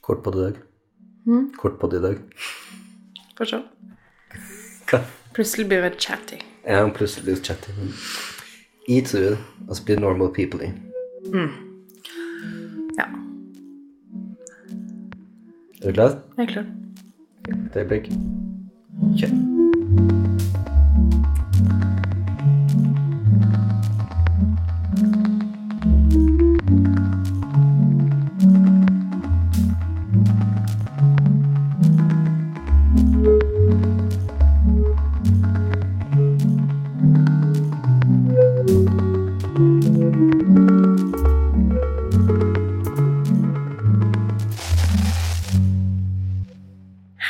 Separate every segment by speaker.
Speaker 1: Kort på det i dag.
Speaker 2: Mm.
Speaker 1: Kort på det i dag.
Speaker 2: Får se.
Speaker 1: Hva?
Speaker 2: Plutselig blir vi chatty.
Speaker 1: Ja, og plutselig litt chatty. Eat food, og så blir Altså, normal people i.
Speaker 2: Ja,
Speaker 1: Er du klar?
Speaker 2: jeg er klar.
Speaker 1: Et øyeblikk. Kjør.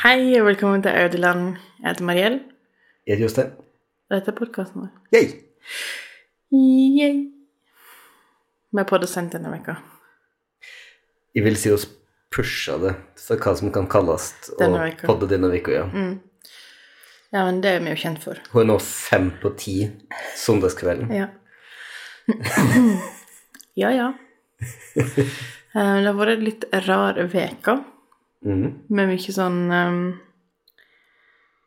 Speaker 2: Hei og velkommen til Audeland. Jeg heter Mariell,
Speaker 1: Er det Jostein?
Speaker 2: og dette er podkasten vår.
Speaker 1: Yay!
Speaker 2: Yay! Med produsent denne uka.
Speaker 1: Jeg vil si oss pusha det, så hva som kan kalles å
Speaker 2: Denne Mm. veka.
Speaker 1: podde denne uka, ja.
Speaker 2: Ja, men det er vi jo kjent for.
Speaker 1: Hun er nå fem på ti søndagskvelden.
Speaker 2: Ja. ja, ja. Eh, Det har vært en litt rar uke,
Speaker 1: Mhm.
Speaker 2: med mye sånn ehm,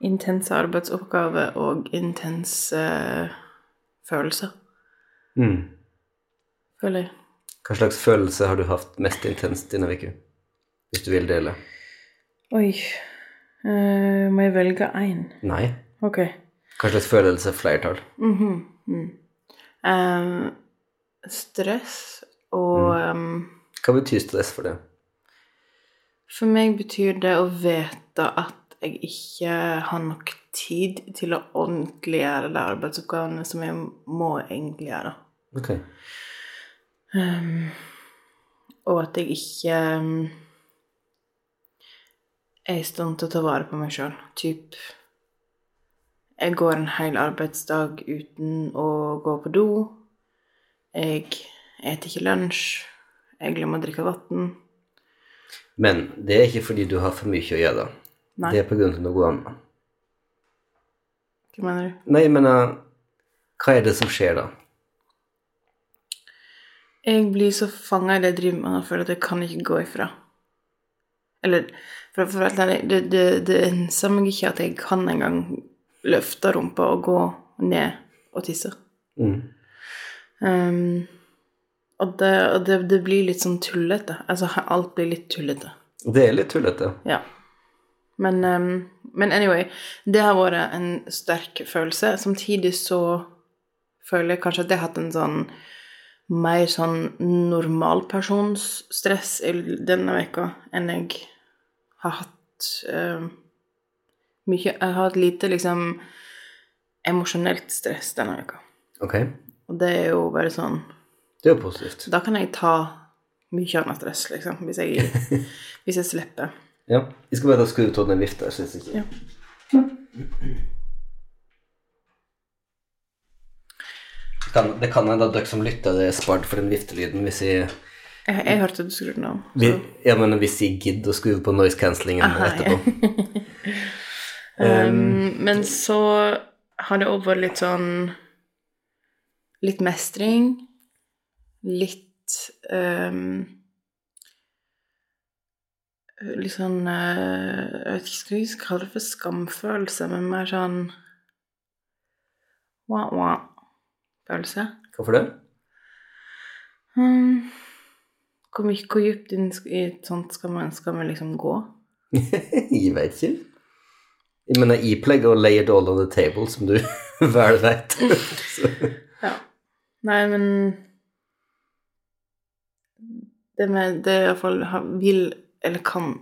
Speaker 2: intense arbeidsoppgaver og intense eh, følelser,
Speaker 1: Mhm.
Speaker 2: føler jeg.
Speaker 1: Hva slags følelse har du hatt mest intenst denne uka? Hvis du vil dele.
Speaker 2: Oi. Eh, må jeg velge én?
Speaker 1: Nei.
Speaker 2: Ok.
Speaker 1: Hva slags følelse er flertall?
Speaker 2: Mhm, mm. Ehm, stress og ehm,
Speaker 1: Hva betyr stress for det?
Speaker 2: For meg betyr det å vite at jeg ikke har nok tid til å ordentlig gjøre de arbeidsoppgavene som jeg må egentlig gjøre.
Speaker 1: Ok.
Speaker 2: Ehm, og at jeg ikke ehm, er i stand til å ta vare på meg sjøl. Typ Jeg går en hel arbeidsdag uten å gå på do. Jeg eter ikke lunsj. Jeg glemmer å drikke vann.
Speaker 1: Men det er ikke fordi du har for mye å gjøre.
Speaker 2: Nei.
Speaker 1: Det er på grunn av noe annet.
Speaker 2: Hva mener du?
Speaker 1: Nei, men eh, hva er det som skjer da?
Speaker 2: Jeg blir så fanga i det jeg driver med og føler at jeg kan ikke gå ifra. Eller for, for å være helt ærlig, det, det, det enser meg ikke at jeg kan engang løfte rumpa og gå ned og tisse.
Speaker 1: Mhm.
Speaker 2: Ehm, og det, og det, det blir litt sånn tullete. Altså, alt blir litt tullete.
Speaker 1: Det er litt tullete.
Speaker 2: Ja. Men, ehm, men anyway, det har vært en sterk følelse. Samtidig så føler jeg kanskje at jeg har hatt en sånn mer sånn normalpersonsstress i denne veka enn jeg har hatt ehm, mye Jeg har hatt lite liksom emosjonelt stress denne veka.
Speaker 1: Ok.
Speaker 2: Og det er jo bare sånn
Speaker 1: Det er jo positivt.
Speaker 2: Da kan jeg ta mye annet stress, liksom, hvis jeg, hvis jeg slipper.
Speaker 1: Ja. Jeg skal bare skru ut av den vifta. jeg synes ikke.
Speaker 2: Ja.
Speaker 1: Det kan- Det kan hende at dere som lytter, er spart for den viftelyden hvis jeg
Speaker 2: Jeg, jeg hørte du skrudde den av. så-
Speaker 1: Vi, jeg mener, hvis jeg gidder å skru på noise cancellingen
Speaker 2: Aha,
Speaker 1: etterpå. Ehm,
Speaker 2: Um, men så har det òg vært litt sånn Litt mestring. Litt um, Litt sånn eh, Jeg vet ikke skal vi kalle det for skamfølelse, men mer sånn Wah-wah-følelse.
Speaker 1: Hvorfor det?
Speaker 2: Hmm. Hvor, mye- hvor dypt inn sk- i et sånt skal man, skal man liksom gå?
Speaker 1: jeg vet ikke. Jeg mener, jeg pleier å lay it all on the table, som du vel vet. Så-
Speaker 2: Ja. Nei, men Det med det jeg iallfall vil, eller kan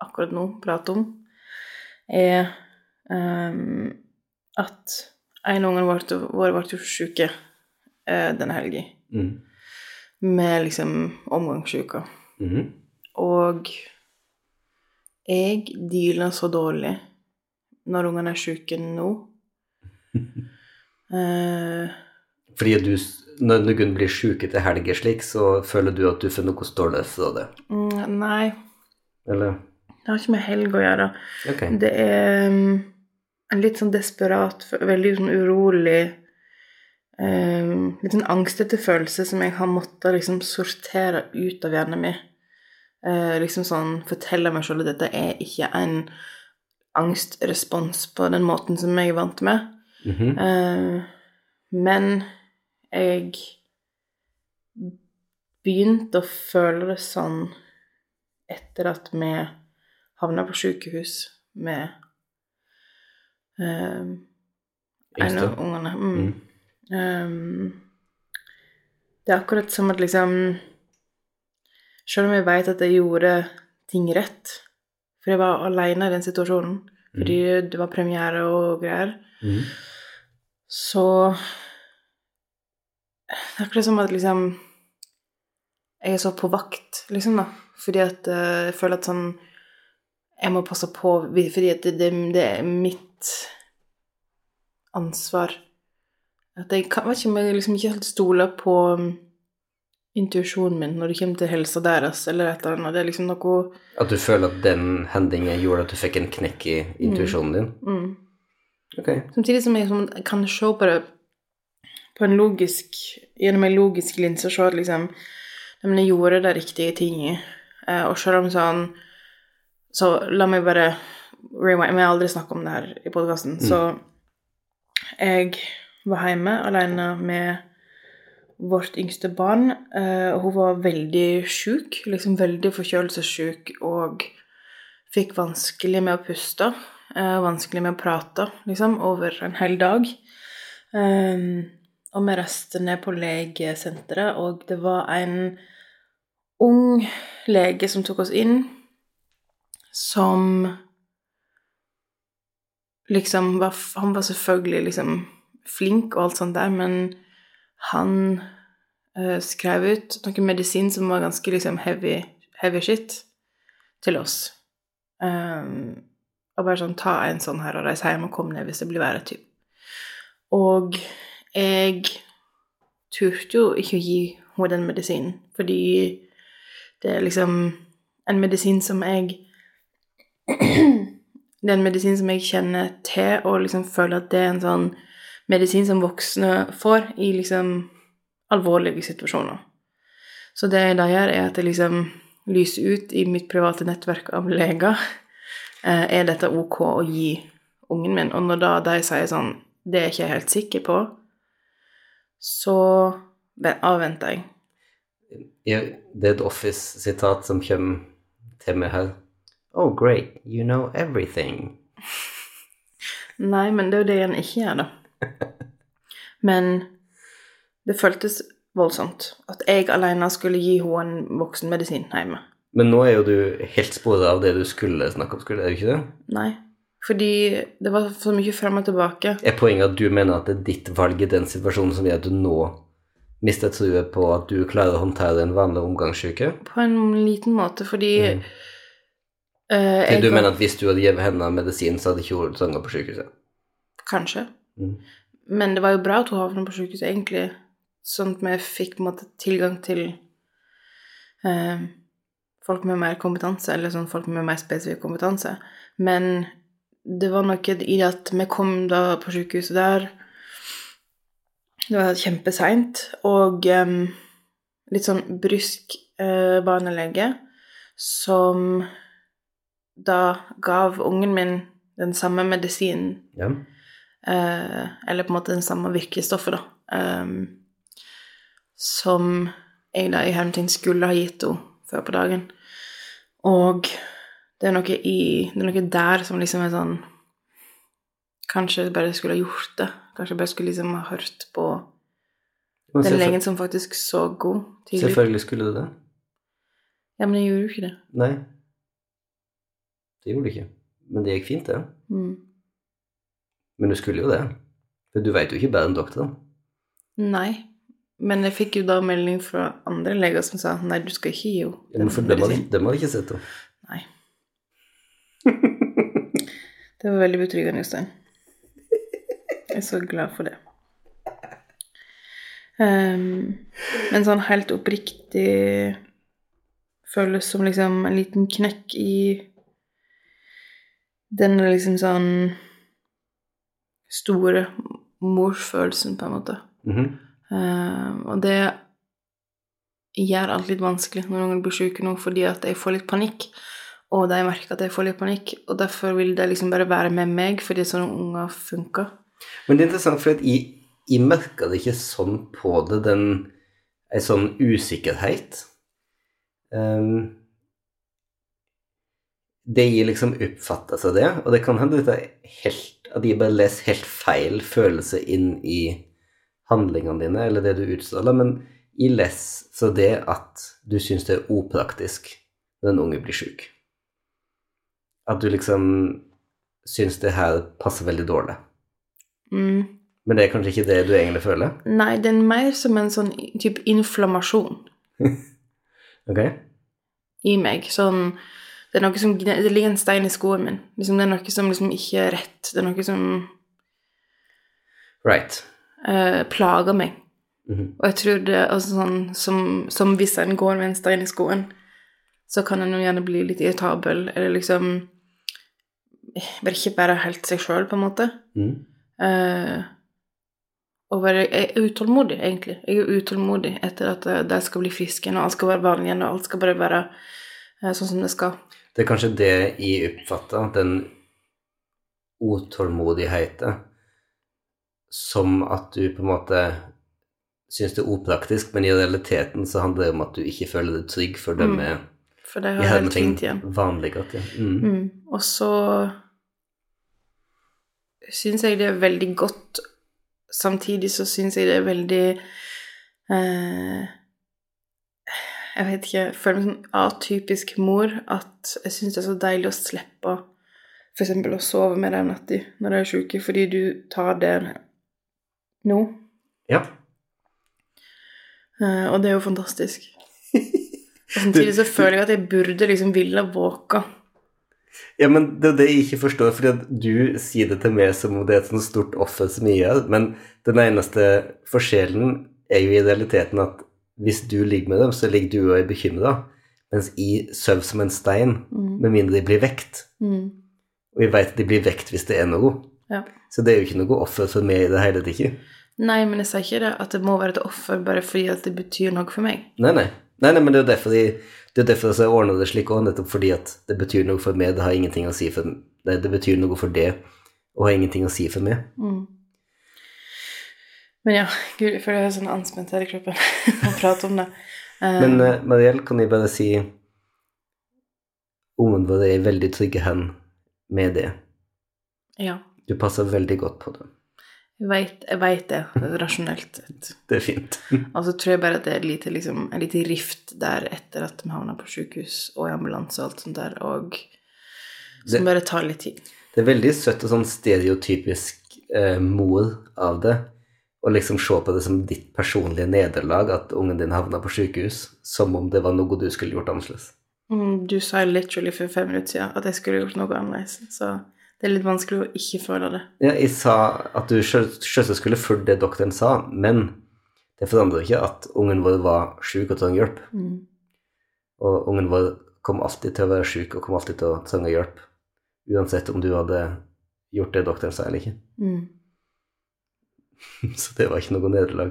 Speaker 2: akkurat nå prate om, er ehm, at en av ungene våre våre ble jo syke eh, denne helga
Speaker 1: mm.
Speaker 2: med liksom omgangssjuka.
Speaker 1: Mhm.
Speaker 2: Og jeg dealer så dårlig når ungene er syke nå. Eh,
Speaker 1: Fordi du, når noen blir syke til helger slik, så føler du at du får noe stålet fra det.
Speaker 2: mm, nei,
Speaker 1: Eller?
Speaker 2: det har ikke med helg å gjøre.
Speaker 1: Ok.
Speaker 2: Det er um, en litt sånn desperat, veldig sånn urolig eh, um, Litt sånn angstete følelse som jeg har måttet liksom sortere ut av hjernen min eh, liksom sånn fortelle meg sjøl at dette er ikke en angstrespons på den måten som jeg er vant med.
Speaker 1: Mhm.
Speaker 2: Eh, men jeg begynte å føle det sånn etter at vi havna på sykehus med eh, en
Speaker 1: Yngste.
Speaker 2: av ungene. Mm. Eh, det er akkurat som at liksom Selv om jeg veit at jeg gjorde ting rett, for jeg var aleine i den situasjonen
Speaker 1: Mm.
Speaker 2: fordi det var premiere og greier,
Speaker 1: Mhm.
Speaker 2: så Det er akkurat som at liksom Jeg er så på vakt, liksom, da. Fordi at eh, jeg føler at sånn Jeg må passe på vi- fordi at det, det, det er mitt ansvar. At jeg kan, vet ikke om jeg liksom ikke helt stoler på um, intuisjonen min når det kommer til helsa deres eller et eller annet. Det er liksom noe
Speaker 1: At du føler at den hendingen gjorde at du fikk en knekk i intuisjonen din?
Speaker 2: mm.
Speaker 1: Ok.
Speaker 2: Samtidig som jeg liksom kan se på det på en logisk, gjennom en logisk linse og se at liksom nei, men jeg gjorde de riktige tingene. Eh, og selv om sånn Så la meg bare rewind, Vi har aldri snakket om det her i podkasten, så jeg var hjemme alene med vårt yngste barn, eh, og hun var veldig sjuk, liksom veldig forkjølelsessjuk og fikk vanskelig med å puste, eh, vanskelig med å prate, liksom, over en hel dag. Ehm, og vi reiste ned på legesenteret, og det var en ung lege som tok oss inn, som liksom var Han var selvfølgelig liksom flink og alt sånt der, men han eh, skrev ut noe medisin som var ganske liksom heavy, heavy shit til oss. Um, og bare sånn, ta en sånn her og reise hjem og kom ned hvis det blir verre, typ. Og jeg turte jo ikke å gi henne den medisinen, fordi det er liksom en medisin som jeg Det er en medisin som jeg kjenner til, og liksom føler at det er en sånn medisin som voksne får i liksom alvorlige situasjoner. Så det jeg da gjør, er at jeg liksom lyser ut i mitt private nettverk av leger eh, er dette ok å gi ungen min. Og når da de sier sånn Det er ikke jeg helt sikker på, så ve- avventer jeg.
Speaker 1: Ja, det er et Office-sitat som kommer til meg her. Oh, great, you know everything.
Speaker 2: Nei, men det er jo det en ikke gjør, da. Men det føltes voldsomt at jeg alene skulle gi henne en voksenmedisin hjemme.
Speaker 1: Men nå er jo du helt sporet av det du skulle snakke om, skulle, er du ikke det?
Speaker 2: Nei. Fordi det var så mye frem og tilbake.
Speaker 1: Er poenget at du mener at det er ditt valg i den situasjonen som gjør at du nå mister troen på at du klarer å håndtere en vanlig omgangssyke?
Speaker 2: På en liten måte, fordi
Speaker 1: Mm.
Speaker 2: eh,
Speaker 1: Til du
Speaker 2: kan-
Speaker 1: mener at hvis du hadde gitt henne medisin, så hadde ikke hun sanga på sykehuset?
Speaker 2: Kanskje.
Speaker 1: Mm.
Speaker 2: Men det var jo bra at hun havna på sykehuset, egentlig. Sånn at vi fikk på en måte tilgang til eh, folk med mer kompetanse, eller sånn folk med mer spesifikk kompetanse. Men det var noe i det at vi kom da på sykehuset der Det var kjempeseint, og eh, litt sånn brysk eh, barnelege som da gav ungen min den samme medisinen
Speaker 1: Ja.
Speaker 2: Eh, eller på en måte den samme virkestoffet, da. ehm, som jeg da i hermetegn skulle ha gitt henne før på dagen. Og det er noe i Det er noe der som liksom er sånn Kanskje jeg bare skulle ha gjort det. Kanskje jeg bare skulle liksom ha hørt på
Speaker 1: Men
Speaker 2: den
Speaker 1: selvfø-
Speaker 2: legen som faktisk så god tidlig.
Speaker 1: selvfølgelig skulle du det.
Speaker 2: Ja, men jeg gjorde jo ikke det.
Speaker 1: Nei. Det gjorde du ikke. Men det gikk fint, det.
Speaker 2: Mm.
Speaker 1: Men du skulle jo det. For du veit jo ikke bedre enn doktoren.
Speaker 2: Nei. Men jeg fikk jo da melding fra andre leger som sa nei, du skal ikke gi henne
Speaker 1: Men for
Speaker 2: den
Speaker 1: dem hadde,
Speaker 2: medisinen».
Speaker 1: dem hadde ikke sett det.
Speaker 2: Nei. Det var veldig betryggende, Jostein. Jeg er så glad for det. Ehm, men sånn helt oppriktig føles som liksom en liten knekk i den liksom sånn store morsfølelsen, på en måte.
Speaker 1: Mhm.
Speaker 2: Ehm, og det gjør alt litt vanskelig når unger blir syke nå, fordi at jeg får litt panikk. Og de merker at jeg får litt panikk, og derfor vil de liksom bare være med meg, fordi sånne unger funker.
Speaker 1: Men det er interessant, for at jeg, jeg merka det ikke sånn på det, den en sånn usikkerhet. Ehm, det gir liksom oppfattelse av det, og det kan hende dette er helt, at de bare leser helt feil følelse inn i handlingene dine, eller det du utstråler, men i leser så det at du syns det er opraktisk når en unge blir sjuk. At du liksom syns det her passer veldig dårlig.
Speaker 2: Mm.
Speaker 1: Men det er kanskje ikke det du egentlig føler?
Speaker 2: Nei, det er mer som en sånn type inflammasjon.
Speaker 1: Ok?
Speaker 2: i meg. Sånn, det, er noe som, gn- det ligger en stein i skoen min. Liksom, det er noe som liksom ikke er rett. Det er noe som
Speaker 1: Right.
Speaker 2: eh, plager meg.
Speaker 1: Mhm.
Speaker 2: Og jeg tror det altså, sånn, som, som hvis en går med en stein i skoen, så kan en jo gjerne bli litt irritabel, eller liksom eh, bare ikke være helt seg sjøl, på en måte.
Speaker 1: Mhm.
Speaker 2: Eh, og være jeg er utålmodig, egentlig. Jeg er utålmodig etter at eh, de skal bli friske igjen, og alt skal være vanlig igjen, og alt skal bare være eh, sånn som det skal.
Speaker 1: Det er kanskje det jeg oppfatter, den utålmodigheten som at du på en måte syns det er opraktisk, men i realiteten så handler det om at du ikke føler deg trygg for det
Speaker 2: Mm.
Speaker 1: med
Speaker 2: For de
Speaker 1: i
Speaker 2: har helt
Speaker 1: hermetegn
Speaker 2: fint igjen.
Speaker 1: vanlige at ja. mm.
Speaker 2: Mm. Og så syns jeg det er veldig godt. Samtidig så syns jeg det er veldig eh, Jeg vet ikke Jeg føler meg som atypisk mor at jeg syns det er så deilig å slippe f.eks. å sove med dem natta når de er sjuke, fordi du tar det nå.
Speaker 1: ja.
Speaker 2: Eh, og det er jo fantastisk. Og samtidig så føler jeg at jeg burde liksom ville våke.
Speaker 1: Ja, men det er det jeg ikke forstår, fordi at du sier det til meg som om det er et sånt stort offer som jeg gjør, men den eneste forskjellen er jo i realiteten at hvis du ligger med dem, så ligger du og er bekymra, mens jeg sover som en stein,
Speaker 2: Mm.
Speaker 1: med mindre de blir vekt.
Speaker 2: Mm.
Speaker 1: Og jeg veit de blir vekt hvis det er noe.
Speaker 2: Ja.
Speaker 1: Så det er jo ikke noe offer for meg i det hele tatt, ikke?
Speaker 2: Nei, men jeg sier ikke det at det må være et offer bare fordi at det betyr noe for meg.
Speaker 1: Nei, nei. Nei, nei, men det er jo derfor de det er derfor jeg ordner det slik også, nettopp fordi at det betyr noe for meg, det har ingenting å si for Nei, det betyr noe for det, og har ingenting å si for meg.
Speaker 2: Mm. Men ja, gud, jeg føler jeg er sånn anspent her i kroppen å prate om det. Eh,
Speaker 1: Men eh, Mariell, kan jeg bare si Ungene våre er i veldig trygge hen med det.
Speaker 2: ja,
Speaker 1: Du passer veldig godt på det.
Speaker 2: jeg vet, jeg vet det, rasjonelt sett.
Speaker 1: Det er fint.
Speaker 2: Og så tror jeg bare at det er et lite, liksom, en liten rift der etter at vi havna på sykehus og i ambulanse og alt sånt der, og som
Speaker 1: Det-
Speaker 2: bare tar litt tid.
Speaker 1: Det er veldig søtt og sånn stereotypisk eh, mor av det å liksom se på det som ditt personlige nederlag at ungen din havna på sykehus, som om det var noe du skulle gjort annerledes.
Speaker 2: Mm, Du sa literally for fem minutter siden at jeg skulle gjort noe annerledes, så det er litt vanskelig å ikke føle det.
Speaker 1: Ja, jeg sa at du sjøl- selvsagt skulle fulgt det doktoren sa, men det forandrer ikke at ungen vår var sjuk og trengte hjelp.
Speaker 2: Mm.
Speaker 1: Og ungen vår kom alltid til å være syk og kom alltid til å trenge hjelp. Uansett om du hadde gjort det doktoren sa eller ikke.
Speaker 2: Mm.
Speaker 1: Så det var ikke noe nederlag.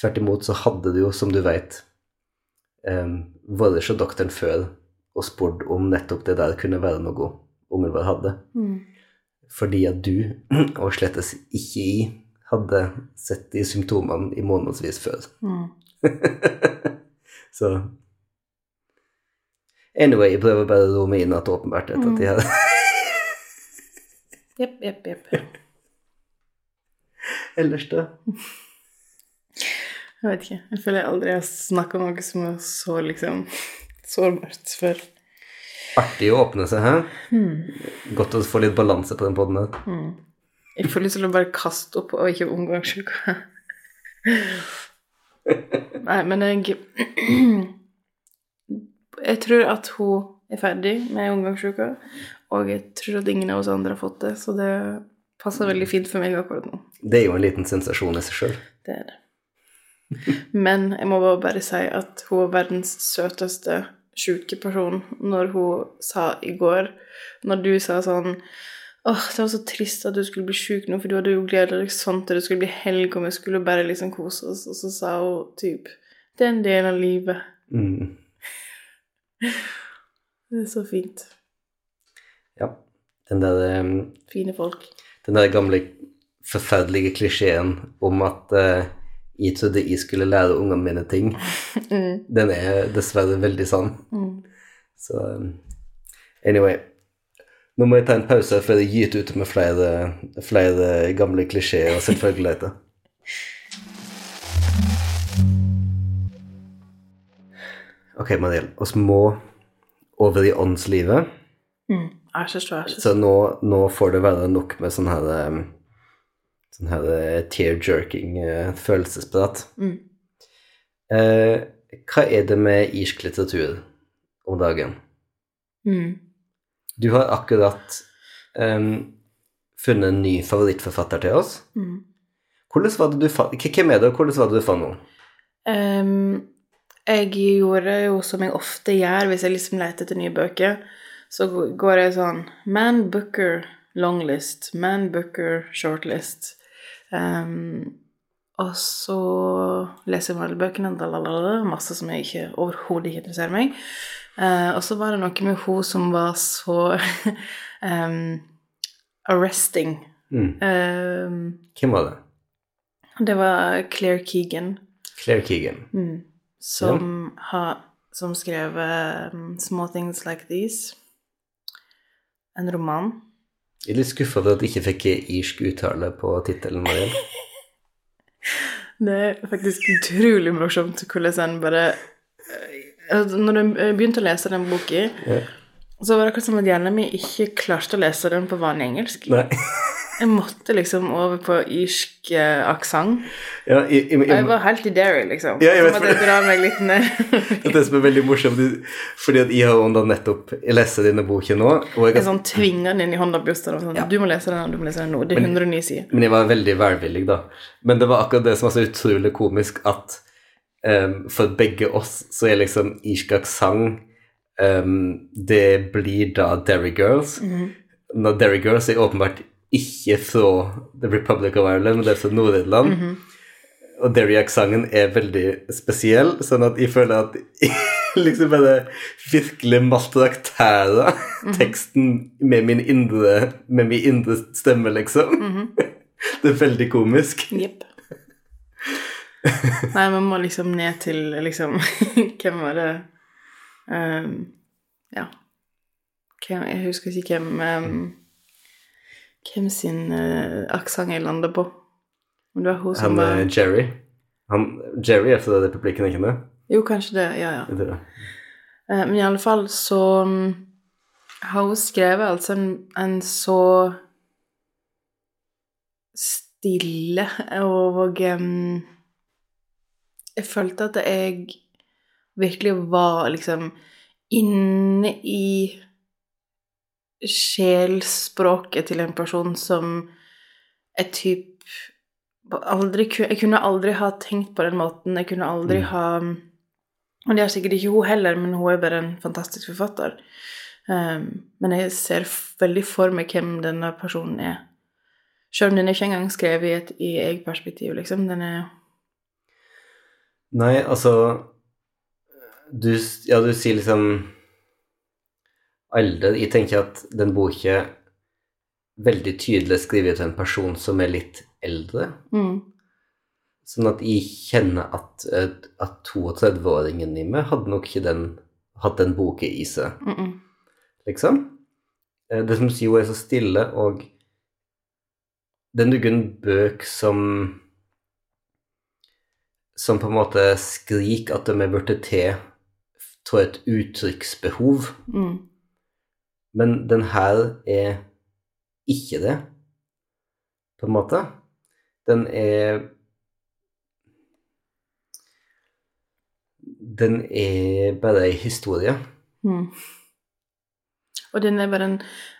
Speaker 1: Tvert imot så hadde du jo, som du veit, um, vært hos doktoren før og spurt om nettopp det der kunne være noe ungen vår hadde.
Speaker 2: Mm.
Speaker 1: Fordi at du, og slettes ikke i, hadde sett de symptomene i månedsvis før.
Speaker 2: Mm.
Speaker 1: Så Anyway, jeg prøver bare å romme inn at det åpenbart er et av de her
Speaker 2: Jepp, jepp, jepp.
Speaker 1: Ellers, da?
Speaker 2: Jeg vet ikke. Jeg føler jeg aldri har snakka om noe som er så liksom sårbart før.
Speaker 1: Artig å åpne seg, hæ? Godt å få litt balanse på den poden her.
Speaker 2: Hmm. Jeg får lyst til å bare kaste opp og ikke omgå sjuka. Nei, men jeg Jeg tror at hun er ferdig med omgangssjuka, og jeg tror at ingen av oss andre har fått det, så det passer veldig fint for meg akkurat nå.
Speaker 1: Det er jo en liten sensasjon i seg sjøl.
Speaker 2: Det er det. Men jeg må bare- bare si at hun var verdens søteste sjuke person når hun sa i går Når du sa sånn Åh, det var så trist at du skulle bli sjuk nå, for du hadde jo gleda deg sånn til det skulle bli helg, og vi skulle bare liksom kose oss, og så sa hun typ Det er en del av livet.
Speaker 1: Mm.
Speaker 2: Det er så fint.
Speaker 1: Ja. Den der, um,
Speaker 2: Fine folk.
Speaker 1: den der gamle, forferdelige klisjeen om at eh, jeg trodde jeg skulle lære ungene mine ting,
Speaker 2: Mm.
Speaker 1: den er dessverre veldig sann.
Speaker 2: Mm.
Speaker 1: Så um, anyway. Nå må jeg ta en pause før jeg gyter ut med flere, flere gamle klisjeer og selvfølgeligheter. Ok, Mariel, oss må over i åndslivet.
Speaker 2: Mm. Æsj, æsj, æsj.
Speaker 1: Så nå, nå får det være nok med sånn her um, Sånn her eh, tear-jerking eh, følelsesprat.
Speaker 2: Mm.
Speaker 1: Eh, hva er det med irsk litteratur om dagen?
Speaker 2: Mm.
Speaker 1: Du har akkurat em, funnet en ny favorittforfatter til oss.
Speaker 2: Mm.
Speaker 1: Hvordan var det du fa- K- Hvem er det, og hvordan var det du fant henne?
Speaker 2: Ehm, jeg gjorde jo som jeg ofte gjør hvis jeg liksom leter etter nye bøker, så g- går jeg sånn Man Booker longlist, Man Booker shortlist. Ehm, og så leser jeg alle bøkene, dalalala, masse som jeg ikke overhodet ikke interesserer meg. Eh, og så var det noe med hun som var så ehm, arresting.
Speaker 1: Mm.
Speaker 2: Ehm,
Speaker 1: Hvem var det?
Speaker 2: det var Claire Keegan.
Speaker 1: Claire Keegan.
Speaker 2: Mm. Som, har, som skrev um, 'Small Things Like These'. En roman.
Speaker 1: Jeg er litt skuffa over at jeg ikke fikk irsk uttale på tittelen. Mariel.
Speaker 2: Det er faktisk utrolig morsomt hvordan en bare eh, altså, Når en eh, begynte å lese den boka,
Speaker 1: Ja.
Speaker 2: så var det akkurat som at hjernen min ikke klarte å lese den på vanlig engelsk.
Speaker 1: Nei.
Speaker 2: Jeg måtte liksom over på irsk eh, aksent.
Speaker 1: Ja, jeg, jeg, jeg,
Speaker 2: Jeg var helt i Derry, liksom.
Speaker 1: Ja, jeg vet
Speaker 2: så måtte jeg
Speaker 1: det.
Speaker 2: dra meg litt ned.
Speaker 1: Det er det som er veldig morsomt, fordi at jeg har jo da nettopp jeg leser denne boken nå, og jeg,
Speaker 2: Jeg sånn tvinger den inn i hånda på Jostein og sånn Du må lese den, og du må lese den nå. Det er 109 sider.
Speaker 1: men jeg var veldig velvillig, da. Men det var akkurat det som var så utrolig komisk, at ehm, for begge oss så er liksom irsk aksent ehm, Det blir da Derry Girls. Når Derry Girls er åpenbart ikke fra The Republic of Ireland, men det er fra Nord-Irland. Og Derry-aksenten er veldig spesiell, sånn at jeg føler at liksom bare virkelig maltrakterer teksten med min indre, med min indre stemme, liksom. Det er veldig komisk.
Speaker 2: Jepp. Nei, man må liksom ned til liksom Hvem var det Ehm, Ja. Hvem, jeg husker ikke hvem ehm, Hvem sin uh, aksent jeg landa på. Om det var hun som
Speaker 1: Han
Speaker 2: var
Speaker 1: eh, Jerry. Han, Jerry er fra republikken, ikke det?
Speaker 2: Jo, kanskje det. Ja, ja.
Speaker 1: Er det det?
Speaker 2: Eh, Men i alle fall så mm, har hun skrevet altså en, en så stille og ehm, em, Jeg følte at jeg virkelig var liksom inne i sjelsspråket til en person som jeg typ aldri ku- Jeg kunne aldri ha tenkt på den måten. Jeg kunne aldri
Speaker 1: Mm.
Speaker 2: ha og det er sikkert ikke hun heller, men hun er bare en fantastisk forfatter. Ehm, men jeg ser f- veldig for meg hvem denne personen er. Selv om den er ikke engang skrevet i et i jeg-perspektiv, liksom. Den er
Speaker 1: Nei, altså du, s- Ja, du sier liksom alder. Jeg tenker at den boka veldig tydelig skriver til en person som er litt eldre.
Speaker 2: mm,
Speaker 1: Sånn at jeg kjenner at, eh, at 32-åringen i meg hadde nok ikke den, hatt den boka i seg,
Speaker 2: mm, mm,
Speaker 1: liksom. Eh, Det som jo er så stille, og det er noen bøk som som på en måte skriker at de er burde til av et uttrykksbehov,
Speaker 2: mm,
Speaker 1: men den her er ikke det, på en måte. Den er Den er bare ei historie.
Speaker 2: mm. Og den er bare en,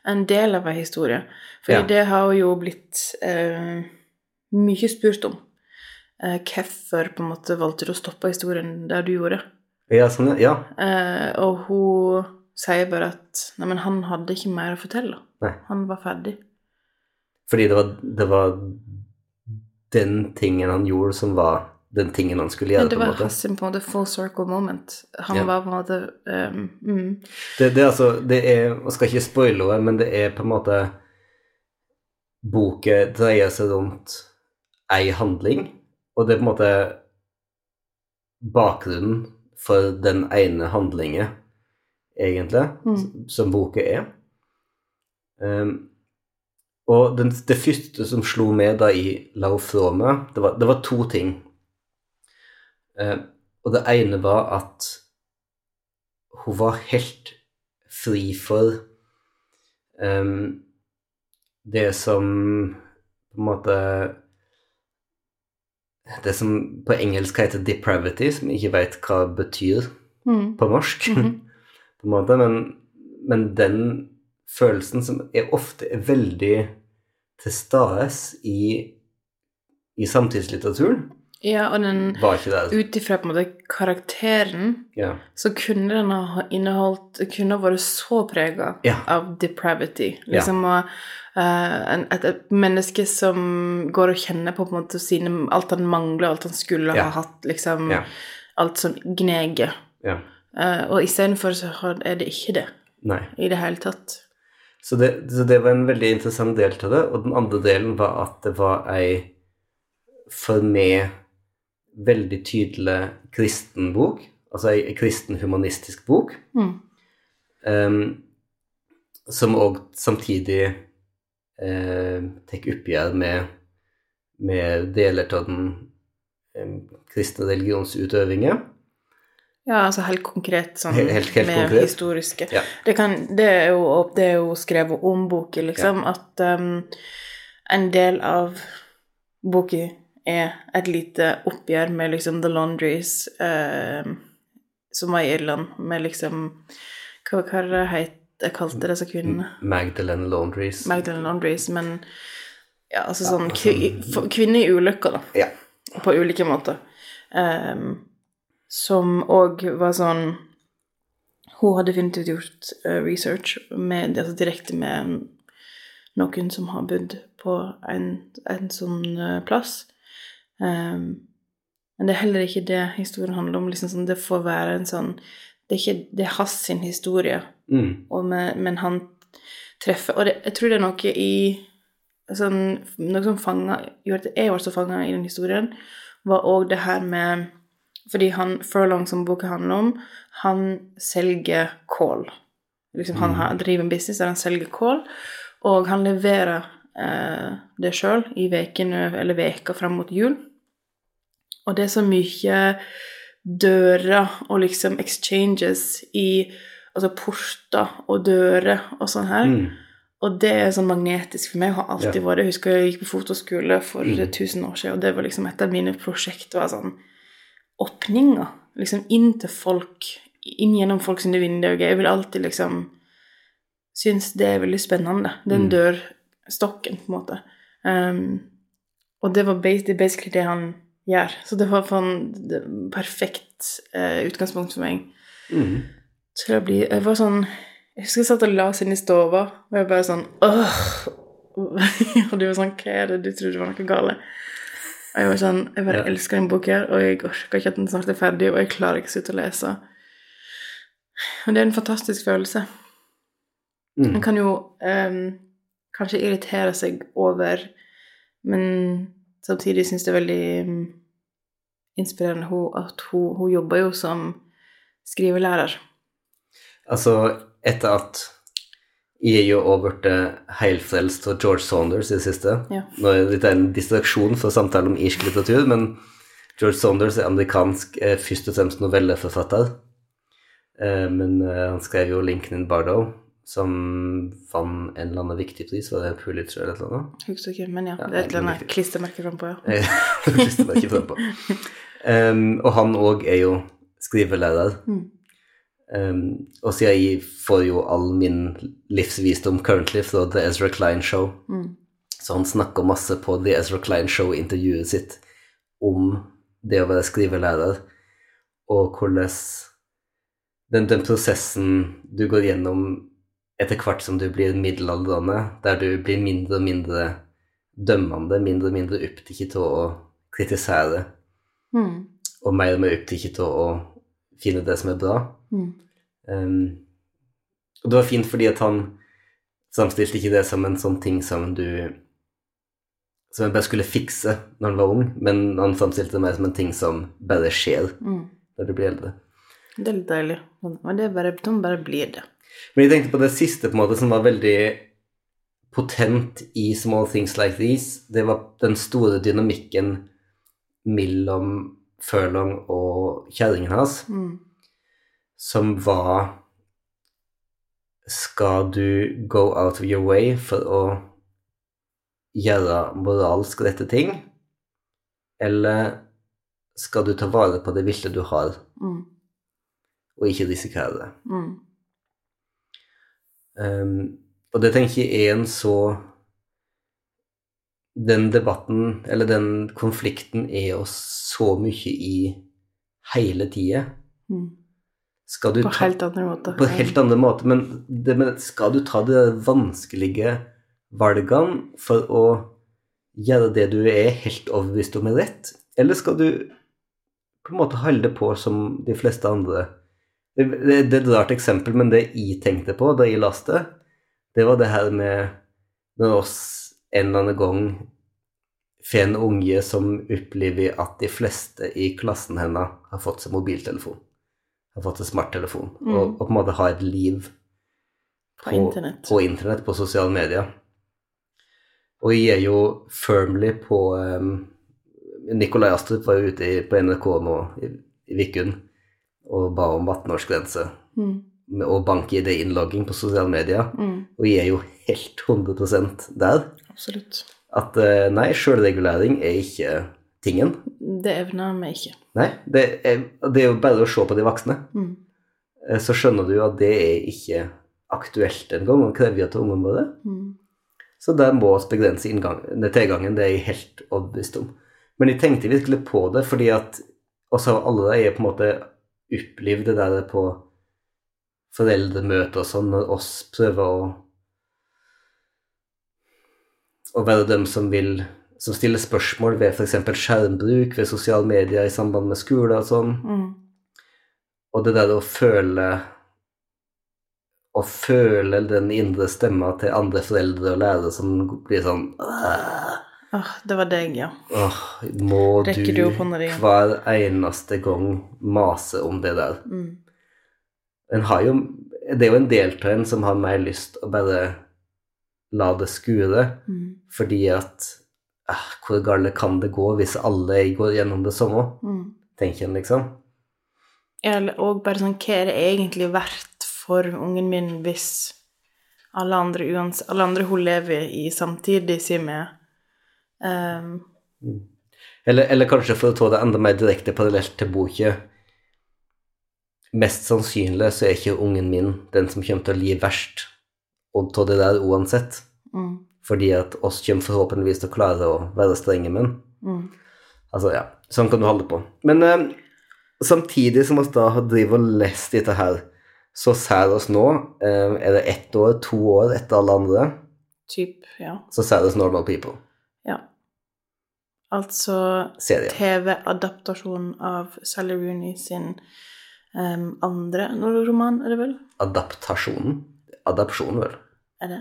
Speaker 2: en del av en historie. For
Speaker 1: Ja.
Speaker 2: det har jo blitt eh, mye spurt om. Eh, Hvorfor på en måte valgte du å stoppe historien der du gjorde?
Speaker 1: Ja, sånn, ja.
Speaker 2: Eh, og hun sier bare at nei, men han hadde ikke mer å fortelle.
Speaker 1: Nei.
Speaker 2: Han var ferdig.
Speaker 1: Fordi det var, det var den tingen han gjorde, som var den tingen han skulle
Speaker 2: Men
Speaker 1: gjøre.
Speaker 2: det
Speaker 1: på en
Speaker 2: var
Speaker 1: måte.
Speaker 2: hans på en måte full circle moment. Han
Speaker 1: Ja.
Speaker 2: var på en måte ehm, mm,
Speaker 1: Det, det er altså det er, Jeg skal ikke spoile det, men det er på en måte Boka dreier seg rundt ei handling, og det er på en måte bakgrunnen for den ene handlingen, egentlig,
Speaker 2: Mm.
Speaker 1: som boka er. Ehm, og den, det første som slo meg da jeg la henne fra meg, det var, det var to ting. Ehm, og det ene var at hun var helt fri for ehm, det som på en måte Det som på engelsk heter 'depravity', som jeg ikke veit hva betyr
Speaker 2: mm.
Speaker 1: på norsk,
Speaker 2: Mhm.
Speaker 1: på en måte, men, men den følelsen som er ofte er veldig til stades i, i samtidslitteraturen,
Speaker 2: Ja, og den
Speaker 1: var ikke der.
Speaker 2: ut ifra på en måte karakteren,
Speaker 1: Ja.
Speaker 2: så kunne den ha inneholdt Det kunne ha vært så prega
Speaker 1: Ja.
Speaker 2: av depravity. Liksom og, eh, en, et, et menneske som går og kjenner på, på en måte sine Alt han mangler, alt han skulle
Speaker 1: Ja.
Speaker 2: ha hatt, liksom.
Speaker 1: Ja.
Speaker 2: Alt som gneger.
Speaker 1: ja.
Speaker 2: Eh, og istedenfor så har- er det ikke det
Speaker 1: Nei.
Speaker 2: i det hele tatt.
Speaker 1: Så det, så det var en veldig interessant del til det. Og den andre delen var at det var ei for meg veldig tydelig kristen bok. Altså ei kristen humanistisk bok.
Speaker 2: Mm.
Speaker 1: ehm, som òg samtidig eh, tar oppgjør med, med deler av den em, kristne religionsutøvingen.
Speaker 2: Ja, altså helt konkret sånn
Speaker 1: He- helt- helt
Speaker 2: med
Speaker 1: konkret.
Speaker 2: historiske
Speaker 1: Ja.
Speaker 2: det, kan, det, er jo, opp- det er jo skrevet om boka, liksom, at um, en del av boka er et lite oppgjør med liksom The Laundries, um, som var i Irland, med liksom Hva var det het, jeg kalte disse kvinnene?
Speaker 1: Magdalene Laundries.
Speaker 2: Magdalene Laundries, men ja, altså sånn
Speaker 1: altså-
Speaker 2: kvi- for- Kvinner i ulykker, da
Speaker 1: ja.
Speaker 2: på ulike måter. Ehm, som òg var sånn Hun hadde definitivt gjort eh, research med, altså direkte med noen som har bodd på en, en sånn eh, plass. Ehm, men det er heller ikke det historien handler om. Liksom sånn, det får være en sånn Det er, ikke, det er hans sin historie
Speaker 1: Mm.
Speaker 2: og med, men han treffer Og det, jeg tror det er noe i sånn, Noe som fanget, gjorde at jeg ble så fanga i den historien, var òg det her med Fordi han Furlong, som boka handler om, han selger kål. Liksom, han har, driver en business der han selger kål, og han leverer eh, det sjøl i vekene, eller veka fram mot jul. Og det er så mye dører og liksom exchanges i Altså porter og dører og sånn her.
Speaker 1: Mm.
Speaker 2: Og det er sånn magnetisk for meg. og har alltid
Speaker 1: Ja.
Speaker 2: vært det. Jeg husker jeg gikk på fotoskole for
Speaker 1: Mm.
Speaker 2: 1000 år siden, og det var liksom et av mine prosjekt var sånn åpninger. Liksom inn til folk, inn gjennom folk sine vinduer og greier. Jeg vil alltid liksom synes det er veldig spennende. Den
Speaker 1: Mm.
Speaker 2: dørstokken, på en måte. Ehm, og det var bas- det er basically det han gjør. Så det var sånn det, perfekt eh, utgangspunkt for meg
Speaker 1: Mm.
Speaker 2: til å bli Jeg var sånn Jeg husker jeg satt og la oss inn i stova, og jeg bare sånn Åh! Og du var sånn Hva er det du trodde var noe gale? Og jeg var sånn Jeg bare
Speaker 1: Ja.
Speaker 2: elsker den boka her, og jeg orker ikke at den snart er ferdig, og jeg klarer ikke å slutte å lese. Og det er en fantastisk følelse.
Speaker 1: Mm.
Speaker 2: En kan jo ehm, kanskje irritere seg over, men samtidig syns det er veldig mm, inspirerende hun, at hun, hun jobber jo som skrivelærer.
Speaker 1: Altså, etter at jeg er jo også blitt heilfrelst av George Saunders i det siste
Speaker 2: Ja.
Speaker 1: Nå er det litt en distraksjon for samtale om irsk litteratur, men George Saunders er amerikansk eh, først og fremst novelleforfatter. Eh, men eh, han skrev jo 'Lincoln in Bardo', som vant en eller annen viktig pris, var det Pulitzer eller noe sånt?
Speaker 2: Husker ikke, men ja.
Speaker 1: Ja,
Speaker 2: det er et eller annet
Speaker 1: riktig.
Speaker 2: klistremerke frampå, ja.
Speaker 1: Eh, det visste jeg ikke frem på. Em, og han òg er jo skrivelærer.
Speaker 2: Mm.
Speaker 1: Um, og siden jeg får jo all min livsvisdom currently fra The Ezra Klein Show,
Speaker 2: Mm.
Speaker 1: så han snakker masse på The Ezra Klein Show-intervjuet sitt om det å være skrivelærer, og hvordan den, den prosessen du går gjennom etter hvert som du blir middelaldrende, der du blir mindre og mindre dømmende, mindre og mindre opptatt av å kritisere
Speaker 2: Mm.
Speaker 1: Og mer og mer opptatt av å finne det som er bra.
Speaker 2: Mm.
Speaker 1: Ehm, og det var fint fordi at han samstilte ikke det som en sånn ting som du Som en bare skulle fikse når han var ung, men han samstilte det mer som en ting som bare skjer
Speaker 2: Mm.
Speaker 1: når du blir eldre.
Speaker 2: Det er litt deilig. Men det er bare, de bare blir det.
Speaker 1: Men jeg tenkte på det siste på en måte som var veldig potent i Small Things Like These. Det var den store dynamikken mellom Furlong og kjerringen hans,
Speaker 2: Mm.
Speaker 1: som var Skal du go out of your way for å gjøre moralsk rette ting, eller skal du ta vare på det ville du har,
Speaker 2: Mm.
Speaker 1: og ikke risikere det?
Speaker 2: Mm.
Speaker 1: Um, og det tenker jeg er en så Den debatten, eller den konflikten, er jo så mye i hele tida.
Speaker 2: Mm.
Speaker 1: Skal du
Speaker 2: På
Speaker 1: ta
Speaker 2: helt andre måter. Mm.
Speaker 1: På en helt annen måte, men det med, skal du ta de der vanskelige valgene for å gjøre det du er helt overbevist om er rett, eller skal du på en måte holde på som de fleste andre? Det, det, det er et rart eksempel, men det jeg tenkte på da jeg leste det, det var det her med når oss en eller annen gang får en unge som opplever at de fleste i klassen hennes har fått seg mobiltelefon, har fått seg smarttelefon,
Speaker 2: Mm.
Speaker 1: og, og på en måte har et liv
Speaker 2: På internett.
Speaker 1: på internett, på sosiale medier. Og jeg er jo firmly på um, Nikolai Astrup var jo ute i, på NRK nå i, i Vikund og ba om 18-årsgrense
Speaker 2: Mm.
Speaker 1: med- og bank-ID-innlogging på sosiale medier.
Speaker 2: Mm.
Speaker 1: Og jeg er jo helt 100 der.
Speaker 2: Absolutt.
Speaker 1: At eh, nei, sjølregulering er ikke tingen.
Speaker 2: Det evner vi ikke.
Speaker 1: Nei, det er, det er jo bare å se på de voksne.
Speaker 2: Mm.
Speaker 1: Eh, Så skjønner du jo at det er ikke aktuelt engang, og krever jo til ungene våre.
Speaker 2: Mm.
Speaker 1: Så der må oss begrense inngang, nei, tilgangen, det er jeg helt overbevist om. Men jeg tenkte virkelig på det, fordi at også har alle der jeg på en måte opplevd det der på foreldremøter og sånn, når oss prøver å å være dem som vil som stiller spørsmål ved f.eks. skjermbruk, ved sosiale medier i samband med skole og sånn.
Speaker 2: Mm.
Speaker 1: Og det der å føle Å føle den indre stemma til andre foreldre og lærere som blir sånn Åh,
Speaker 2: Ah, det var deg, ja.
Speaker 1: åh, Må du,
Speaker 2: Rekker du opp hånda di?
Speaker 1: hver eneste gang mase om det der?
Speaker 2: Mm.
Speaker 1: En har jo, det er jo en del av en som har mer lyst å bare la det skure,
Speaker 2: Mm.
Speaker 1: fordi at eh, Hvor galt kan det gå hvis alle går gjennom det samme,
Speaker 2: Mm.
Speaker 1: tenker en liksom.
Speaker 2: Eller òg bare sånn Hva er det egentlig verdt for ungen min hvis alle andre, uans alle andre hun lever i samtidig, sier vi ehm,
Speaker 1: Eller, eller kanskje for å ta det enda mer direkte parallelt til boka Mest sannsynlig så er ikke ungen min den som kommer til å lide verst og ta det der uansett,
Speaker 2: mm,
Speaker 1: fordi at oss kommer forhåpentligvis til å klare å være strenge med den.
Speaker 2: mm,
Speaker 1: Altså, ja, sånn kan du holde på. Men eh, samtidig som oss da har drivet og lest dette her, så ser oss nå, eh, er det ett år, to år etter alle andre,
Speaker 2: Typ, ja.
Speaker 1: så ser oss Normal People.
Speaker 2: ja. Altså
Speaker 1: Serien.
Speaker 2: TV-adaptasjon av Sally Rooney sin ehm, andre roman, er det vel?
Speaker 1: Adaptasjonen. Adapsjon, vel.
Speaker 2: Er det?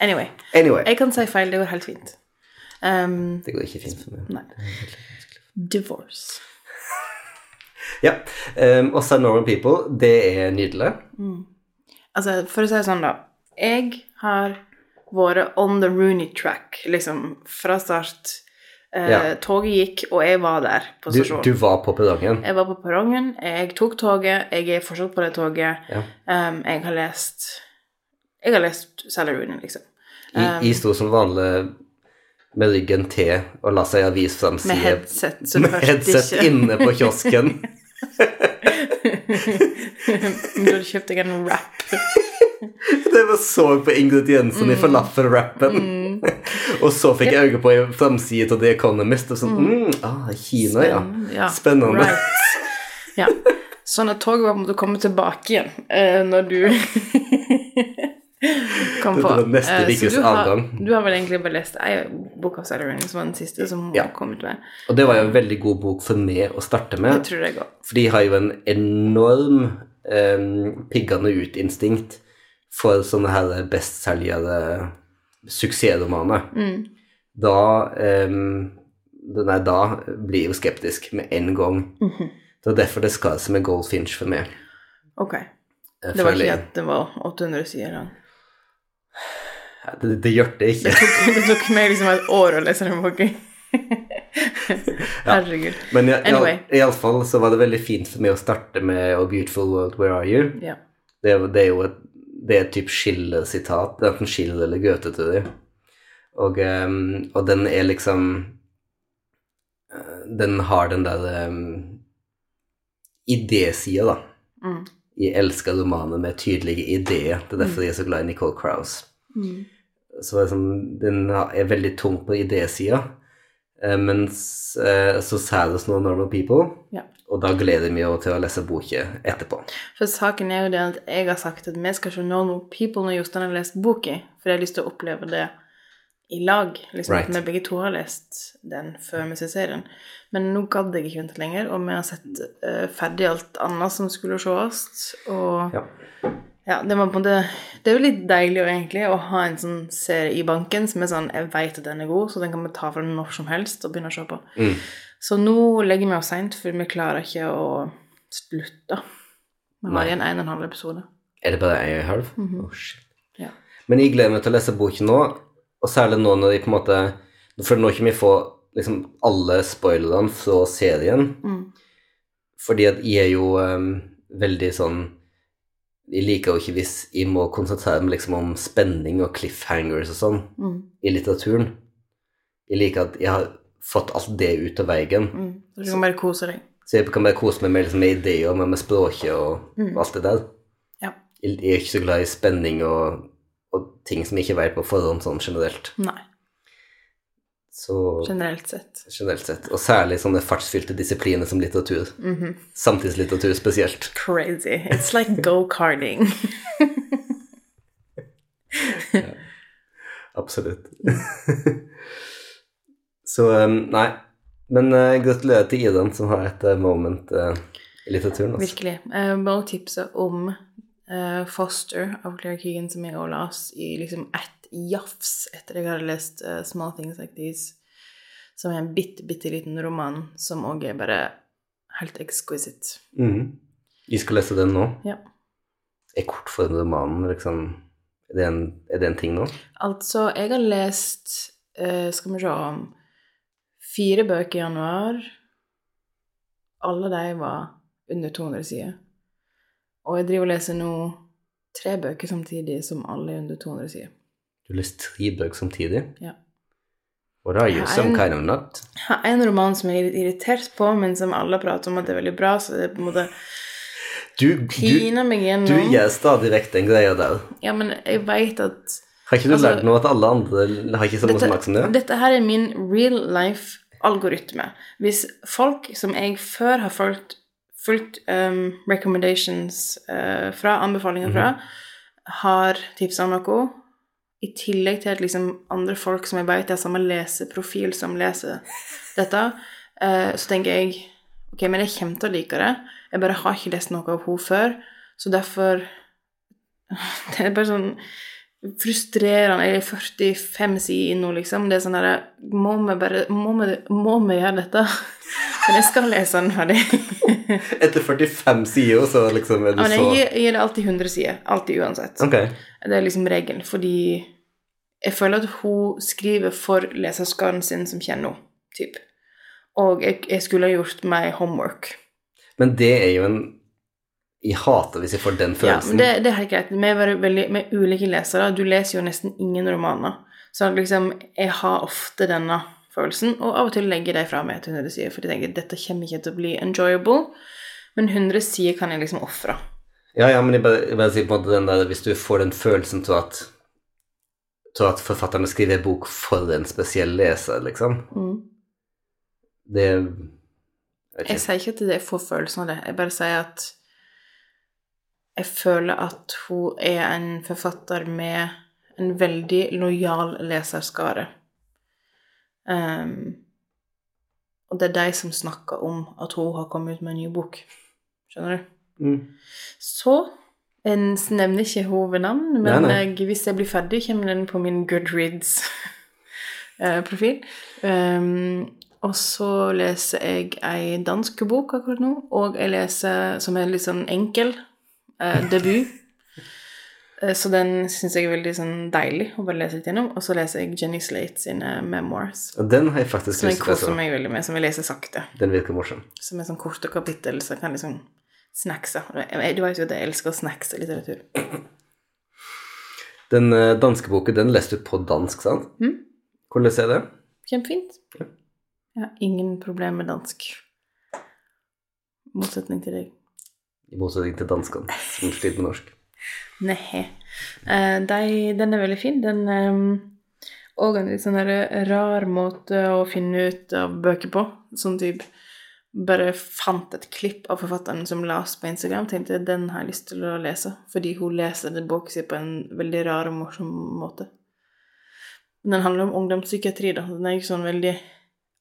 Speaker 2: Anyway.
Speaker 1: Anyway.
Speaker 2: Jeg kan si feil, det går helt fint. Ehm,
Speaker 1: Det går ikke fint for meg.
Speaker 2: Nei. divorce.
Speaker 1: Ja. Um, og Norman People, det er nydelig.
Speaker 2: Mm. Altså, for å si det sånn, da. Jeg har vært on the Rooney track, liksom, fra start. Eh,
Speaker 1: Ja.
Speaker 2: Toget gikk, og jeg var der på
Speaker 1: Du,
Speaker 2: stasjonen.
Speaker 1: du var på perrongen.
Speaker 2: Jeg var på perrongen, jeg tok toget, jeg er fortsatt på det toget.
Speaker 1: Ja.
Speaker 2: Ehm, jeg har lest Jeg har lest Sally Rooney, liksom.
Speaker 1: I,
Speaker 2: Um,
Speaker 1: I sto som vanlig med ryggen til og la seg i avis
Speaker 2: Med
Speaker 1: framside
Speaker 2: headset, så
Speaker 1: med
Speaker 2: hørte
Speaker 1: headset
Speaker 2: ikke.
Speaker 1: inne på kiosken.
Speaker 2: da kjøpte jeg en wrap.
Speaker 1: Det var så på ingrediensene
Speaker 2: Mm.
Speaker 1: i falafelrappen. Og så fikk jeg øye på ei framside av The Economist. Og sånn, mm, ah, Kina,
Speaker 2: Spennende,
Speaker 1: ja.
Speaker 2: Mm, ja.
Speaker 1: Spennende.
Speaker 2: Right. Ja. Sånn at toget var på en måte komme tilbake igjen eh, når du kan
Speaker 1: Dette
Speaker 2: få.
Speaker 1: var neste
Speaker 2: Eh, så
Speaker 1: rikes
Speaker 2: du har-
Speaker 1: adgang.
Speaker 2: Du har vel egentlig bare lest ei Book of Salarying, som var den siste som hun
Speaker 1: Ja.
Speaker 2: kom ut med.
Speaker 1: Og det var jo en veldig god bok for meg å starte
Speaker 2: Jeg
Speaker 1: med.
Speaker 2: tror det går.
Speaker 1: For de har jo en enorm eh, piggende ut-instinkt for sånne her bestselgere suksessromaner.
Speaker 2: Mm.
Speaker 1: Da eh, Nei, da blir jeg jo skeptisk med en gang.
Speaker 2: Mhm.
Speaker 1: Det er derfor det skal som en goldfinch for meg.
Speaker 2: Ok.
Speaker 1: eh,
Speaker 2: Det var
Speaker 1: føler
Speaker 2: ikke
Speaker 1: jeg.
Speaker 2: at den var 800 sider lang.
Speaker 1: Ja, Det, det gjør det ikke.
Speaker 2: Det tok, det tok meg liksom et år å lese den boken. Herregud.
Speaker 1: Men i- i-
Speaker 2: Anyway.
Speaker 1: iallfall så var det veldig fint for meg å starte med A Beautiful World, Where Are You?
Speaker 2: Ja.
Speaker 1: Det, er- det er jo et, det er et type Schiller-sitat. Det er enten Schiller eller Goethe til det. Og, ehm, og den er liksom eh, Den har den der um, idésida, da.
Speaker 2: Mm.
Speaker 1: Jeg elsker romaner med tydelige ideer. Det er derfor jeg er så glad i Nicole Crowes.
Speaker 2: Mm.
Speaker 1: Så var det sånn, den er veldig tung på idésida, eh, mens eh, så Saddest No Normal People,
Speaker 2: Ja.
Speaker 1: og da gleder jeg meg jo til å lese boka etterpå.
Speaker 2: For saken er jo det at jeg har sagt at vi skal ikke nå noen people når Jostein har lest boka, for jeg har lyst til å oppleve det i lag. Liksom
Speaker 1: Right.
Speaker 2: at vi begge to har lest den før vi ser serien. Men nå gadd jeg ikke vente lenger, og vi har sett eh, ferdig alt annet som skulle sees. Og
Speaker 1: Ja.
Speaker 2: ja, det var på en måte Det er jo litt deilig jo egentlig å ha en sånn serie i banken som er sånn Jeg vet at den er god, så den kan vi ta fra den når som helst og begynne å se på.
Speaker 1: Mm.
Speaker 2: Så nå legger vi oss seint, for vi klarer ikke å slutte. Vi
Speaker 1: Nei.
Speaker 2: har igjen en og en halv episode.
Speaker 1: Er det bare en og en halv?
Speaker 2: Mhm.
Speaker 1: Å, shit.
Speaker 2: Ja.
Speaker 1: Men jeg gleder meg til å lese boken nå, og særlig nå når jeg på en måte For nå kommer jeg få liksom alle spoilerne fra serien,
Speaker 2: Mm.
Speaker 1: fordi at jeg er jo eh, veldig sånn jeg liker jo ikke hvis jeg må konsentrere meg liksom om spenning og cliffhangers og sånn.
Speaker 2: Mm.
Speaker 1: i litteraturen. Jeg liker at jeg har fått alt det ut av veien.
Speaker 2: Mm. Så du kan bare kose deg.
Speaker 1: Så jeg kan bare kose meg med, liksom, med ideer, med, med språket og
Speaker 2: Mm.
Speaker 1: alt det der.
Speaker 2: Ja.
Speaker 1: Jeg jeg er ikke så glad i spenning og, og ting som jeg ikke vet på forhånd sånn generelt.
Speaker 2: Nei,
Speaker 1: Så
Speaker 2: generelt sett.
Speaker 1: generelt sett. Og særlig sånne fartsfylte disipliner som litteratur.
Speaker 2: Mhm.
Speaker 1: Samtidslitteratur spesielt.
Speaker 2: Crazy. It's like go-karting.
Speaker 1: Absolutt. så um, nei. Men eh, gratulerer til Idan som har et eh, moment eh, i litteraturen. Altså.
Speaker 2: Virkelig. Jeg må også tipse om eh, Foster av Claire Keegan, som jeg også las i liksom ett jafs etter jeg hadde lest eh, Small Things Like These, som er en bitte, bitte liten roman som også er bare helt exquisite.
Speaker 1: Mhm. Vi skal lese den nå.
Speaker 2: Ja.
Speaker 1: Er kortformromanen liksom er det, en, er det en ting nå?
Speaker 2: Altså, jeg har lest eh, Skal vi se Fire bøker i januar. Alle de var under 200 sider. Og jeg driver og leser nå tre bøker samtidig som alle er under 200 sider.
Speaker 1: Du har lest tre bøker samtidig?
Speaker 2: Ja.
Speaker 1: What are you,
Speaker 2: Jeg har
Speaker 1: some
Speaker 2: en-
Speaker 1: kind of nut?
Speaker 2: Jeg har en roman som jeg er litt irritert på, men som alle prater om at det er veldig bra, så det er på en måte
Speaker 1: Du, du,
Speaker 2: piner meg
Speaker 1: du
Speaker 2: gjennom.
Speaker 1: gjør stadig vekk den greia der.
Speaker 2: Ja, men jeg veit at
Speaker 1: Har ikke du
Speaker 2: Altså-
Speaker 1: lært nå at alle andre har ikke samme smak som deg?
Speaker 2: dette her er min real life-algoritme. Hvis folk som jeg før har fulgt, fulgt um, recommendations eh, fra, anbefalinger fra,
Speaker 1: Mhm.
Speaker 2: har tipsa om noe, i tillegg til at liksom andre folk som jeg vet har samme leseprofil som leser dette, eh, så tenker jeg ok, men jeg kommer til å like det. Jeg bare har ikke lest noe av henne før, så derfor det er bare sånn frustrerende. Jeg er 45 sider inn nå, liksom. Det er sånn derre Må vi bare Må vi, må vi gjøre dette? Men jeg skal lese den ferdig.
Speaker 1: Etter 45 sider, så liksom er du
Speaker 2: Ja, Men
Speaker 1: så
Speaker 2: jeg gir, jeg gir det alltid 100 sider. Alltid uansett.
Speaker 1: Ok.
Speaker 2: Det er liksom regelen, fordi jeg føler at hun skriver for leserskaren sin som kjenner henne, typ. Og jeg, jeg skulle ha gjort meg homework.
Speaker 1: Men det er jo en Jeg hater hvis jeg får den
Speaker 2: Ja, men
Speaker 1: følelsen.
Speaker 2: det, det er helt greit. Vi er bare veldig, vi er ulike lesere. Du leser jo nesten ingen romaner. Så at liksom, jeg har ofte denne følelsen, og av og til legger jeg de fra meg til 100 sider, for jeg tenker dette kommer ikke til å bli enjoyable. Men 100 sider kan jeg liksom ofre.
Speaker 1: Ja, ja, men jeg bare, jeg bare sier på en måte den der Hvis du får den følelsen til at til at forfatterne skriver en bok for en spesiell leser, liksom
Speaker 2: Mm.
Speaker 1: Det jeg vet
Speaker 2: Jeg
Speaker 1: ikke.
Speaker 2: sier ikke at det er få følelser av det. Jeg bare sier at jeg føler at hun er en forfatter med en veldig lojal leserskare. Ehm, og det er de som snakker om at hun har kommet ut med en ny bok. Skjønner du?
Speaker 1: Mm.
Speaker 2: Så En s- nevner ikke hun ved navn, men
Speaker 1: Nei, nei.
Speaker 2: Jeg, hvis jeg blir ferdig, kommer den på min Goodreads-profil. Ehm, og så leser jeg ei dansk bok akkurat nå, og jeg leser som er litt sånn enkel eh, debut. Eh, Så den syns jeg er veldig sånn deilig å bare lese litt gjennom. Og så leser jeg Jenny Slate sine memoirs,
Speaker 1: Og den har jeg faktisk
Speaker 2: som jeg
Speaker 1: lyst til å
Speaker 2: koser
Speaker 1: lese.
Speaker 2: meg veldig med, som jeg leser sakte
Speaker 1: Den virker morsom.
Speaker 2: som er sånn korte kapittel, så jeg kan liksom snackse. Jeg- Du vet jo at jeg elsker å snackse litteratur.
Speaker 1: Den eh, danske boken, den leste du på dansk, sant?
Speaker 2: Mm.
Speaker 1: Hvordan er det?
Speaker 2: Kjempefint.
Speaker 1: Ja.
Speaker 2: Jeg har ingen problem med dansk. I Motsetning til deg.
Speaker 1: I motsetning til danskene, som sliter med norsk.
Speaker 2: Nei. Eh, de, den er veldig fin. Den eh, og en litt sånn der rar måte å finne ut av bøker på. Sånn type bare fant et klipp av forfatteren som las på Instagram, tenkte den har jeg lyst til å lese, fordi hun leser den boka si på en veldig rar og morsom måte. Men Den handler om ungdomspsykiatri, da. Den er jo ikke sånn veldig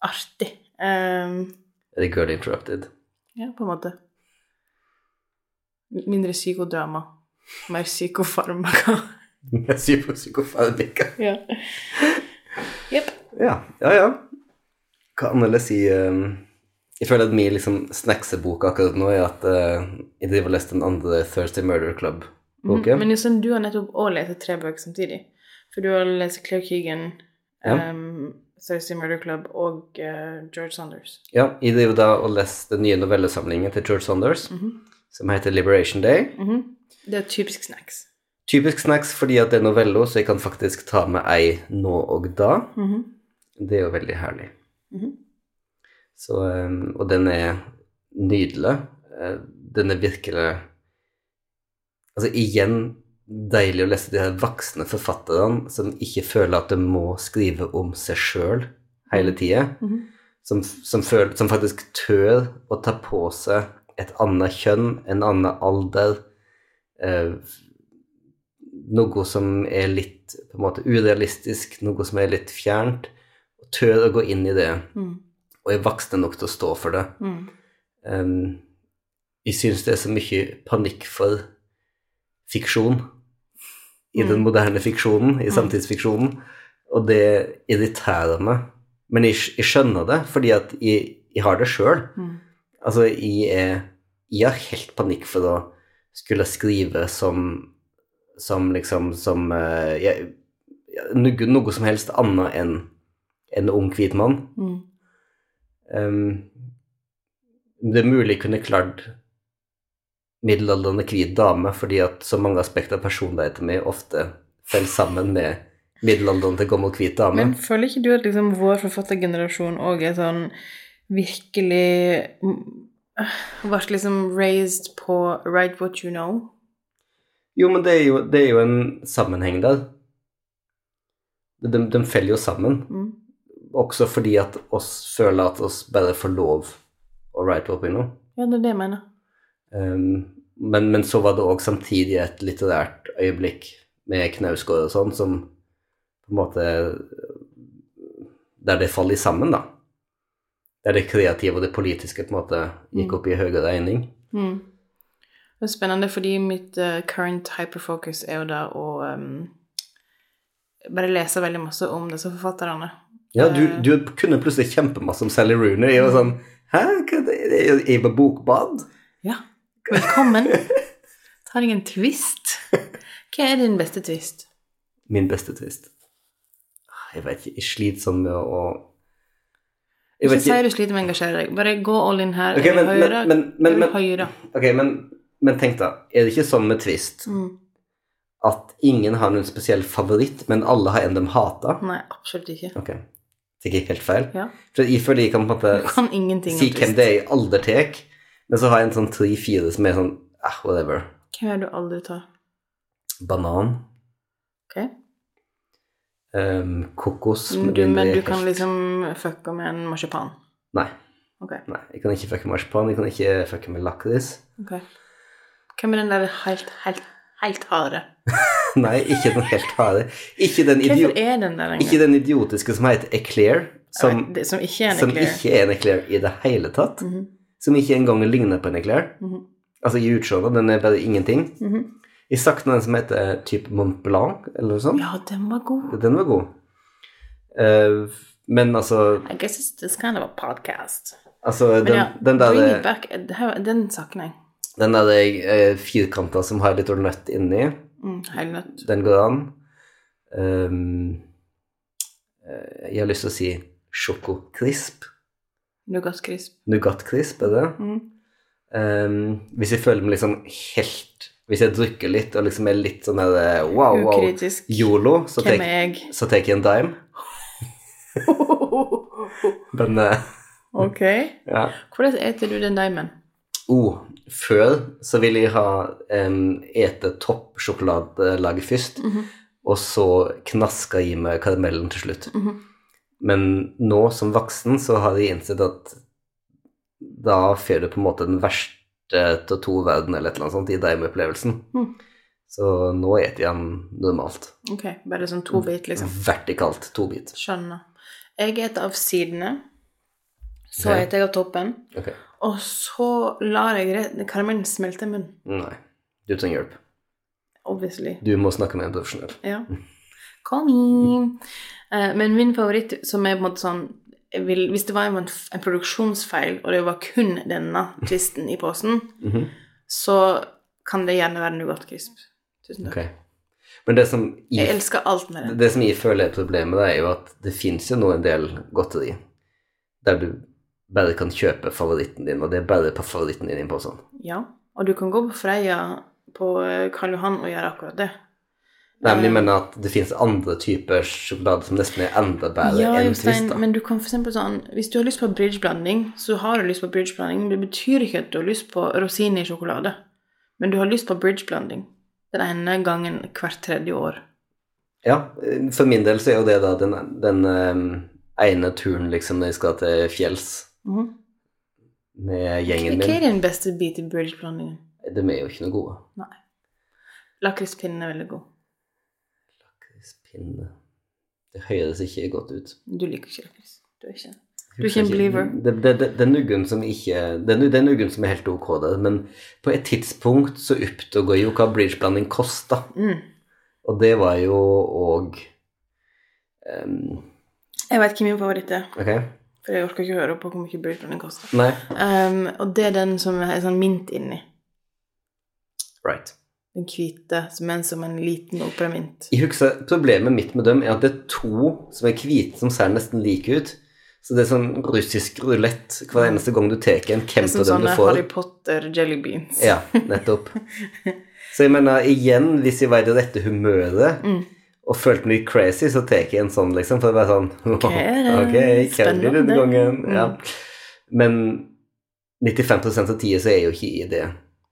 Speaker 2: artig. Eh,
Speaker 1: Er det Girl Interrupted?
Speaker 2: ja, på en måte. Mindre psykodrama. Mer psykofarmaka.
Speaker 1: Psykofarmika.
Speaker 2: Ja. Jepp.
Speaker 1: Ja, ja, ja. Hva annerledes si eh, Jeg føler at min liksom, snacksebok akkurat nå er at eh, jeg driver og leser den andre Thursday Murder Club-boken.
Speaker 2: Mm, Men Jostein, du har nettopp òg lest tre bøker samtidig. For du har lest Claire Keegan,
Speaker 1: Ja.
Speaker 2: ehm, Thursday Murder Club og eh, George Saunders.
Speaker 1: Ja, jeg driver da og leser den nye novellesamlingen til George Saunders,
Speaker 2: Mhm.
Speaker 1: som heter Liberation Day.
Speaker 2: Mhm. Det er typisk snacks.
Speaker 1: Typisk snacks fordi at det er novello, så jeg kan faktisk ta med ei nå og da.
Speaker 2: Mhm.
Speaker 1: Det er jo veldig herlig.
Speaker 2: Mhm.
Speaker 1: Så, eh, og den er nydelig. Eh, Den er virkelig Altså igjen deilig å lese de her voksne forfatterne som ikke føler at de må skrive om seg sjøl hele tida.
Speaker 2: Mhm.
Speaker 1: Som, som, føl- som faktisk tør å ta på seg et annet kjønn, en annen alder. Eh, noe som er litt på en måte urealistisk, noe som er litt fjernt. Og tør å gå inn i det,
Speaker 2: Mhm.
Speaker 1: og er voksne nok til å stå for det.
Speaker 2: Mhm.
Speaker 1: Ehm, jeg syns det er så mye panikk for fiksjon i den
Speaker 2: Mm.
Speaker 1: moderne fiksjonen, i
Speaker 2: Mm.
Speaker 1: samtidsfiksjonen, og det irriterer meg. Men jeg, skj- jeg skjønner det, fordi at jeg, jeg har det sjøl.
Speaker 2: Mhm.
Speaker 1: Altså, jeg er Jeg har helt panikk for å skulle skrive som Som liksom Som eh, jeg, jeg- noe, noe som helst annet enn en ung hvit mann.
Speaker 2: Mhm.
Speaker 1: Ehm, det er mulig jeg kunne klart middelaldrende hvit dame, fordi at så mange aspekter av personligheten min ofte faller sammen med middelaldrende gammel hvit dame.
Speaker 2: Men føler ikke du at liksom vår forfattergenerasjon òg er sånn virkelig Ble liksom raised på 'write what you know'?
Speaker 1: Jo, men det er jo, det er jo en sammenheng der. De, de faller jo sammen.
Speaker 2: Mhm.
Speaker 1: Også fordi at oss føler at oss bare får lov å write what we know.
Speaker 2: Ja, det er det jeg mener.
Speaker 1: Um, men, men så var det òg samtidig et litterært øyeblikk med Knausgård og sånn, som på en måte Der det faller sammen, da. Der det kreative og det politiske på en måte gikk opp i høyere regning.
Speaker 2: Mm. Det er spennende, fordi mitt eh, current hyperfocus er jo da å ehm, bare lese veldig masse om disse forfatterne.
Speaker 1: Ja, du,
Speaker 2: Eh.
Speaker 1: du kunne plutselig kjempemasse om Sally Rooney. Jeg var sånn Hæ, hva er det? Er jeg på bokbad?
Speaker 2: Ja. Velkommen. Ta deg en twist. Hva er din beste twist?
Speaker 1: Min beste twist. Ah, Jeg vet ikke, jeg sliter sånn med å jeg
Speaker 2: Ikke
Speaker 1: vet
Speaker 2: si
Speaker 1: ikke.
Speaker 2: du sliter med å engasjere deg. Bare gå all in her.
Speaker 1: Ok,
Speaker 2: Jeg vil
Speaker 1: men-
Speaker 2: høre.
Speaker 1: men- men- men-
Speaker 2: Jeg vil høre.
Speaker 1: Ok, men, men tenk da. Er det ikke sånn med twist
Speaker 2: Mm.
Speaker 1: at ingen har noen spesiell favoritt, men alle har en de hater.
Speaker 2: Nei, absolutt ikke.
Speaker 1: Ok, det gikk helt feil.
Speaker 2: Ja.
Speaker 1: For jeg føler jeg kan på en
Speaker 2: Du
Speaker 1: måte
Speaker 2: kan ingenting
Speaker 1: Eh, si hvem det er jeg aldri tar, men så har jeg en sånn tre-fire som er sånn ah, whatever.
Speaker 2: Hvem er det du aldri tar?
Speaker 1: Banan,
Speaker 2: Ok.
Speaker 1: ehm, kokos
Speaker 2: Men du,
Speaker 1: den
Speaker 2: men
Speaker 1: er
Speaker 2: du kan
Speaker 1: helt-
Speaker 2: liksom fucke med en marsipan.
Speaker 1: Nei.
Speaker 2: Ok.
Speaker 1: Nei, jeg kan ikke fucke med marsipan, jeg kan ikke fucke med lakris.
Speaker 2: Ok. Hvem er den der helt, helt, helt harde?
Speaker 1: Nei, ikke den helt harde. Ikke den,
Speaker 2: Hvorfor
Speaker 1: idio
Speaker 2: er den der lenger?
Speaker 1: ikke den idiotiske som heter Eclair, som,
Speaker 2: det, som ikke er en
Speaker 1: som
Speaker 2: eclair.
Speaker 1: ikke er en Eclair i det hele tatt.
Speaker 2: Mhm,
Speaker 1: Som ikke engang ligner på en Eclair.
Speaker 2: mhm,
Speaker 1: Altså i utseendet, den er bare ingenting.
Speaker 2: mhm.
Speaker 1: Jeg savner den som heter type Mont Blanc, eller noe sånt.
Speaker 2: Ja, den var god.
Speaker 1: Den var god. Eh, men altså,
Speaker 2: I guess it's, it's kind of a podcast.
Speaker 1: altså
Speaker 2: Men
Speaker 1: den,
Speaker 2: ja,
Speaker 1: den
Speaker 2: bring it
Speaker 1: der,
Speaker 2: back. Det her- Den savner jeg.
Speaker 1: den der eh, firkanta som har litt ornett inni,
Speaker 2: Mm, helt nødt.
Speaker 1: den går an. Ehm, eh, jeg har lyst til å si sjokokrisp.
Speaker 2: Nougatkrisp.
Speaker 1: Nougatkrisp, er det?
Speaker 2: Mm.
Speaker 1: Ehm, hvis jeg føler meg liksom helt Hvis jeg drikker litt og liksom er litt sånn her eh, wow, wow,
Speaker 2: Ukritisk.
Speaker 1: yolo, så
Speaker 2: Hvem
Speaker 1: tek
Speaker 2: er jeg?
Speaker 1: så tek jeg en dime. Men eh,
Speaker 2: ok.
Speaker 1: ja.
Speaker 2: Hvordan eter du den deimen?
Speaker 1: Oh, før så ville jeg ha um, ete toppsjokoladelaget først,
Speaker 2: Mhm,
Speaker 1: og så knaska i meg karamellen til slutt.
Speaker 2: mhm.
Speaker 1: Men nå som voksen så har jeg innsett at da får du på en måte den verste av to verdener eller et eller annet sånt i deg med opplevelsen.
Speaker 2: Mhm.
Speaker 1: Så nå eter jeg den normalt.
Speaker 2: Ok, bare sånn to bit, liksom.
Speaker 1: Vertikalt tobit.
Speaker 2: Skjønner. Jeg eter av sidene. Så
Speaker 1: Ok.
Speaker 2: eter jeg av toppen.
Speaker 1: Ok.
Speaker 2: Og så lar jeg re- karamellen smelte i munnen.
Speaker 1: Nei, du trenger hjelp.
Speaker 2: Obviously.
Speaker 1: Du må snakke med en profesjonell.
Speaker 2: Ja. Kom inn. Eh, Men min favoritt, som er på en måte sånn jeg vil, Hvis det var en, en produksjonsfeil, og det var kun denne twisten i posen,
Speaker 1: Mhm.
Speaker 2: så kan det gjerne være nougatkrisp. Tusen takk.
Speaker 1: Ok. Men det som i
Speaker 2: Jeg elsker alt med den.
Speaker 1: Det som jeg føler er problemet, det er jo at det fins jo nå en del godteri der du bare kan kjøpe favoritten din, og det er bare på favoritten din på sånn.
Speaker 2: Ja. Og du kan gå på Freia på eh, Karl Johan og gjøre akkurat det.
Speaker 1: Nei, men jeg
Speaker 2: Eh,
Speaker 1: mener at det fins andre typer sjokolade som nesten er enda bedre
Speaker 2: Ja,
Speaker 1: enn
Speaker 2: Jostein,
Speaker 1: Twist, da.
Speaker 2: men du kan for eksempel sånn Hvis du har lyst på bridgeblanding, så har du lyst på bridgeblanding. Men det betyr ikke at du har lyst på rosiner i sjokolade. Men du har lyst på bridgeblanding den ene gangen hvert tredje år.
Speaker 1: Ja, eh, for min del så er jo det da den, den eh, ene turen liksom når jeg skal til fjells med gjengen
Speaker 2: Mhm. Hva er
Speaker 1: min.
Speaker 2: din beste bit i bridgeblandingen?
Speaker 1: De er jo ikke noe gode.
Speaker 2: Lakrispinnen er veldig god.
Speaker 1: Lakrispinne Det høres ikke godt ut.
Speaker 2: Du liker ikke lakris. Du er ikke Du er ikke en believer?
Speaker 1: Det, det, det, det er noen som ikke det, er- det er noen som er helt ok der, men på et tidspunkt så oppdaga jo hva bridgeblanding kosta,
Speaker 2: mm.
Speaker 1: og det var jo òg ehm,
Speaker 2: Jeg veit hvem min favoritt er,
Speaker 1: Ok?
Speaker 2: for jeg orker ikke høre på hvor mye bridgeblanding koster.
Speaker 1: Nei?
Speaker 2: Um, og det er den som er sånn mint inni.
Speaker 1: Right.
Speaker 2: Den hvite, som er som en liten operamint.
Speaker 1: Jeg husker, Problemet mitt med dem er at det er to som er hvite, som ser nesten like ut. Så det er sånn russisk rulett hver eneste gang du tar en.
Speaker 2: Det
Speaker 1: Hvem
Speaker 2: er
Speaker 1: av dem
Speaker 2: som
Speaker 1: du
Speaker 2: sånne
Speaker 1: får.
Speaker 2: Harry Potter jelly beans.
Speaker 1: Ja, nettopp. Så jeg mener, igjen, hvis jeg var i det rette humøret
Speaker 2: Mm.
Speaker 1: og følte meg litt crazy, så tar jeg en sånn, liksom, for å være sånn Ok, hvem blir det
Speaker 2: spennende.
Speaker 1: denne gangen?
Speaker 2: Mm.
Speaker 1: Ja. Men 95 av tida så er jeg jo ikke i det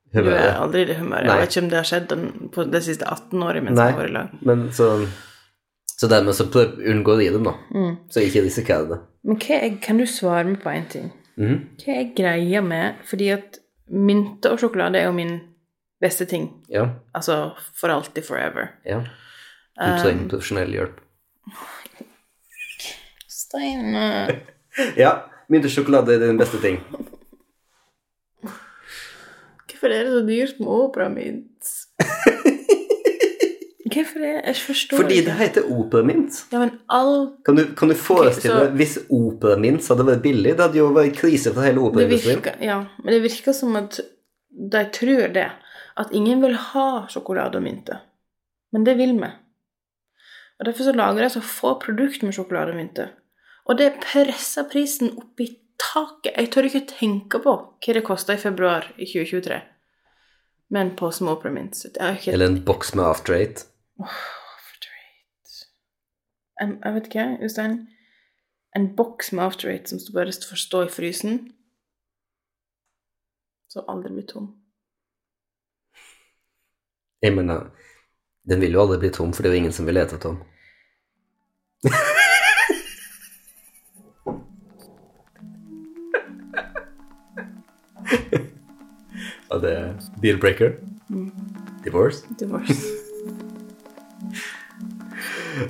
Speaker 2: Du er
Speaker 1: humøret.
Speaker 2: aldri i det humøret.
Speaker 1: Nei.
Speaker 2: Jeg vet ikke om det har skjedd den- på de siste 18 årene mens
Speaker 1: Nei.
Speaker 2: jeg har vært i lag.
Speaker 1: Men så Så dermed så prøv, unngår jeg dem, da.
Speaker 2: Mm.
Speaker 1: Så jeg ikke risikerer det.
Speaker 2: Men hva er, kan du svare meg på én ting?
Speaker 1: Mhm.
Speaker 2: Hva er greia med Fordi at mynte og sjokolade er jo min beste ting.
Speaker 1: Ja.
Speaker 2: Altså for alltid, forever.
Speaker 1: ja. Du trenger
Speaker 2: Um,
Speaker 1: profesjonell hjelp.
Speaker 2: Stein eh,
Speaker 1: Ja, mynt og sjokolade er din beste ting.
Speaker 2: Hvorfor er det så dyrt med operamint? Hvorfor er Jeg forstår
Speaker 1: Fordi det
Speaker 2: ikke.
Speaker 1: heter operamynt.
Speaker 2: Ja, men all
Speaker 1: Kan du, kan du forestille
Speaker 2: Ok, så-
Speaker 1: deg hvis operaen min så hadde vært billig? Det hadde jo vært krise for hele
Speaker 2: det
Speaker 1: operaindustrien.
Speaker 2: virker, Ja, men det virker som at de tror det. At ingen vil ha sjokolade og mynte. Men det vil vi. Og Derfor så lager de så få produkter med sjokolade og mynte. Og det presser prisen opp i taket. Jeg tør ikke tenke på hva det kosta i februar i 2023. Med en pose med Opera Mint. Jeg har ikke
Speaker 1: Eller en boks med after eight.
Speaker 2: Åh, After Eight jeg, jeg vet ikke, Jostein. En boks med After Eight som bare får stå i frysen. Som aldri blir tom.
Speaker 1: Jeg mener, den vil jo aldri bli tom, for det er jo ingen som vil ete tom. Og det er deal-breaker. Divorce?
Speaker 2: Divorce.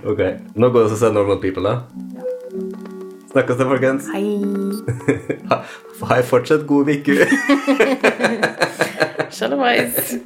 Speaker 1: Ok. Nå går det også å se Normal People, da. Snakkes da, folkens.
Speaker 2: Hei.
Speaker 1: Ha, ha en fortsatt god uke.
Speaker 2: Shalomais.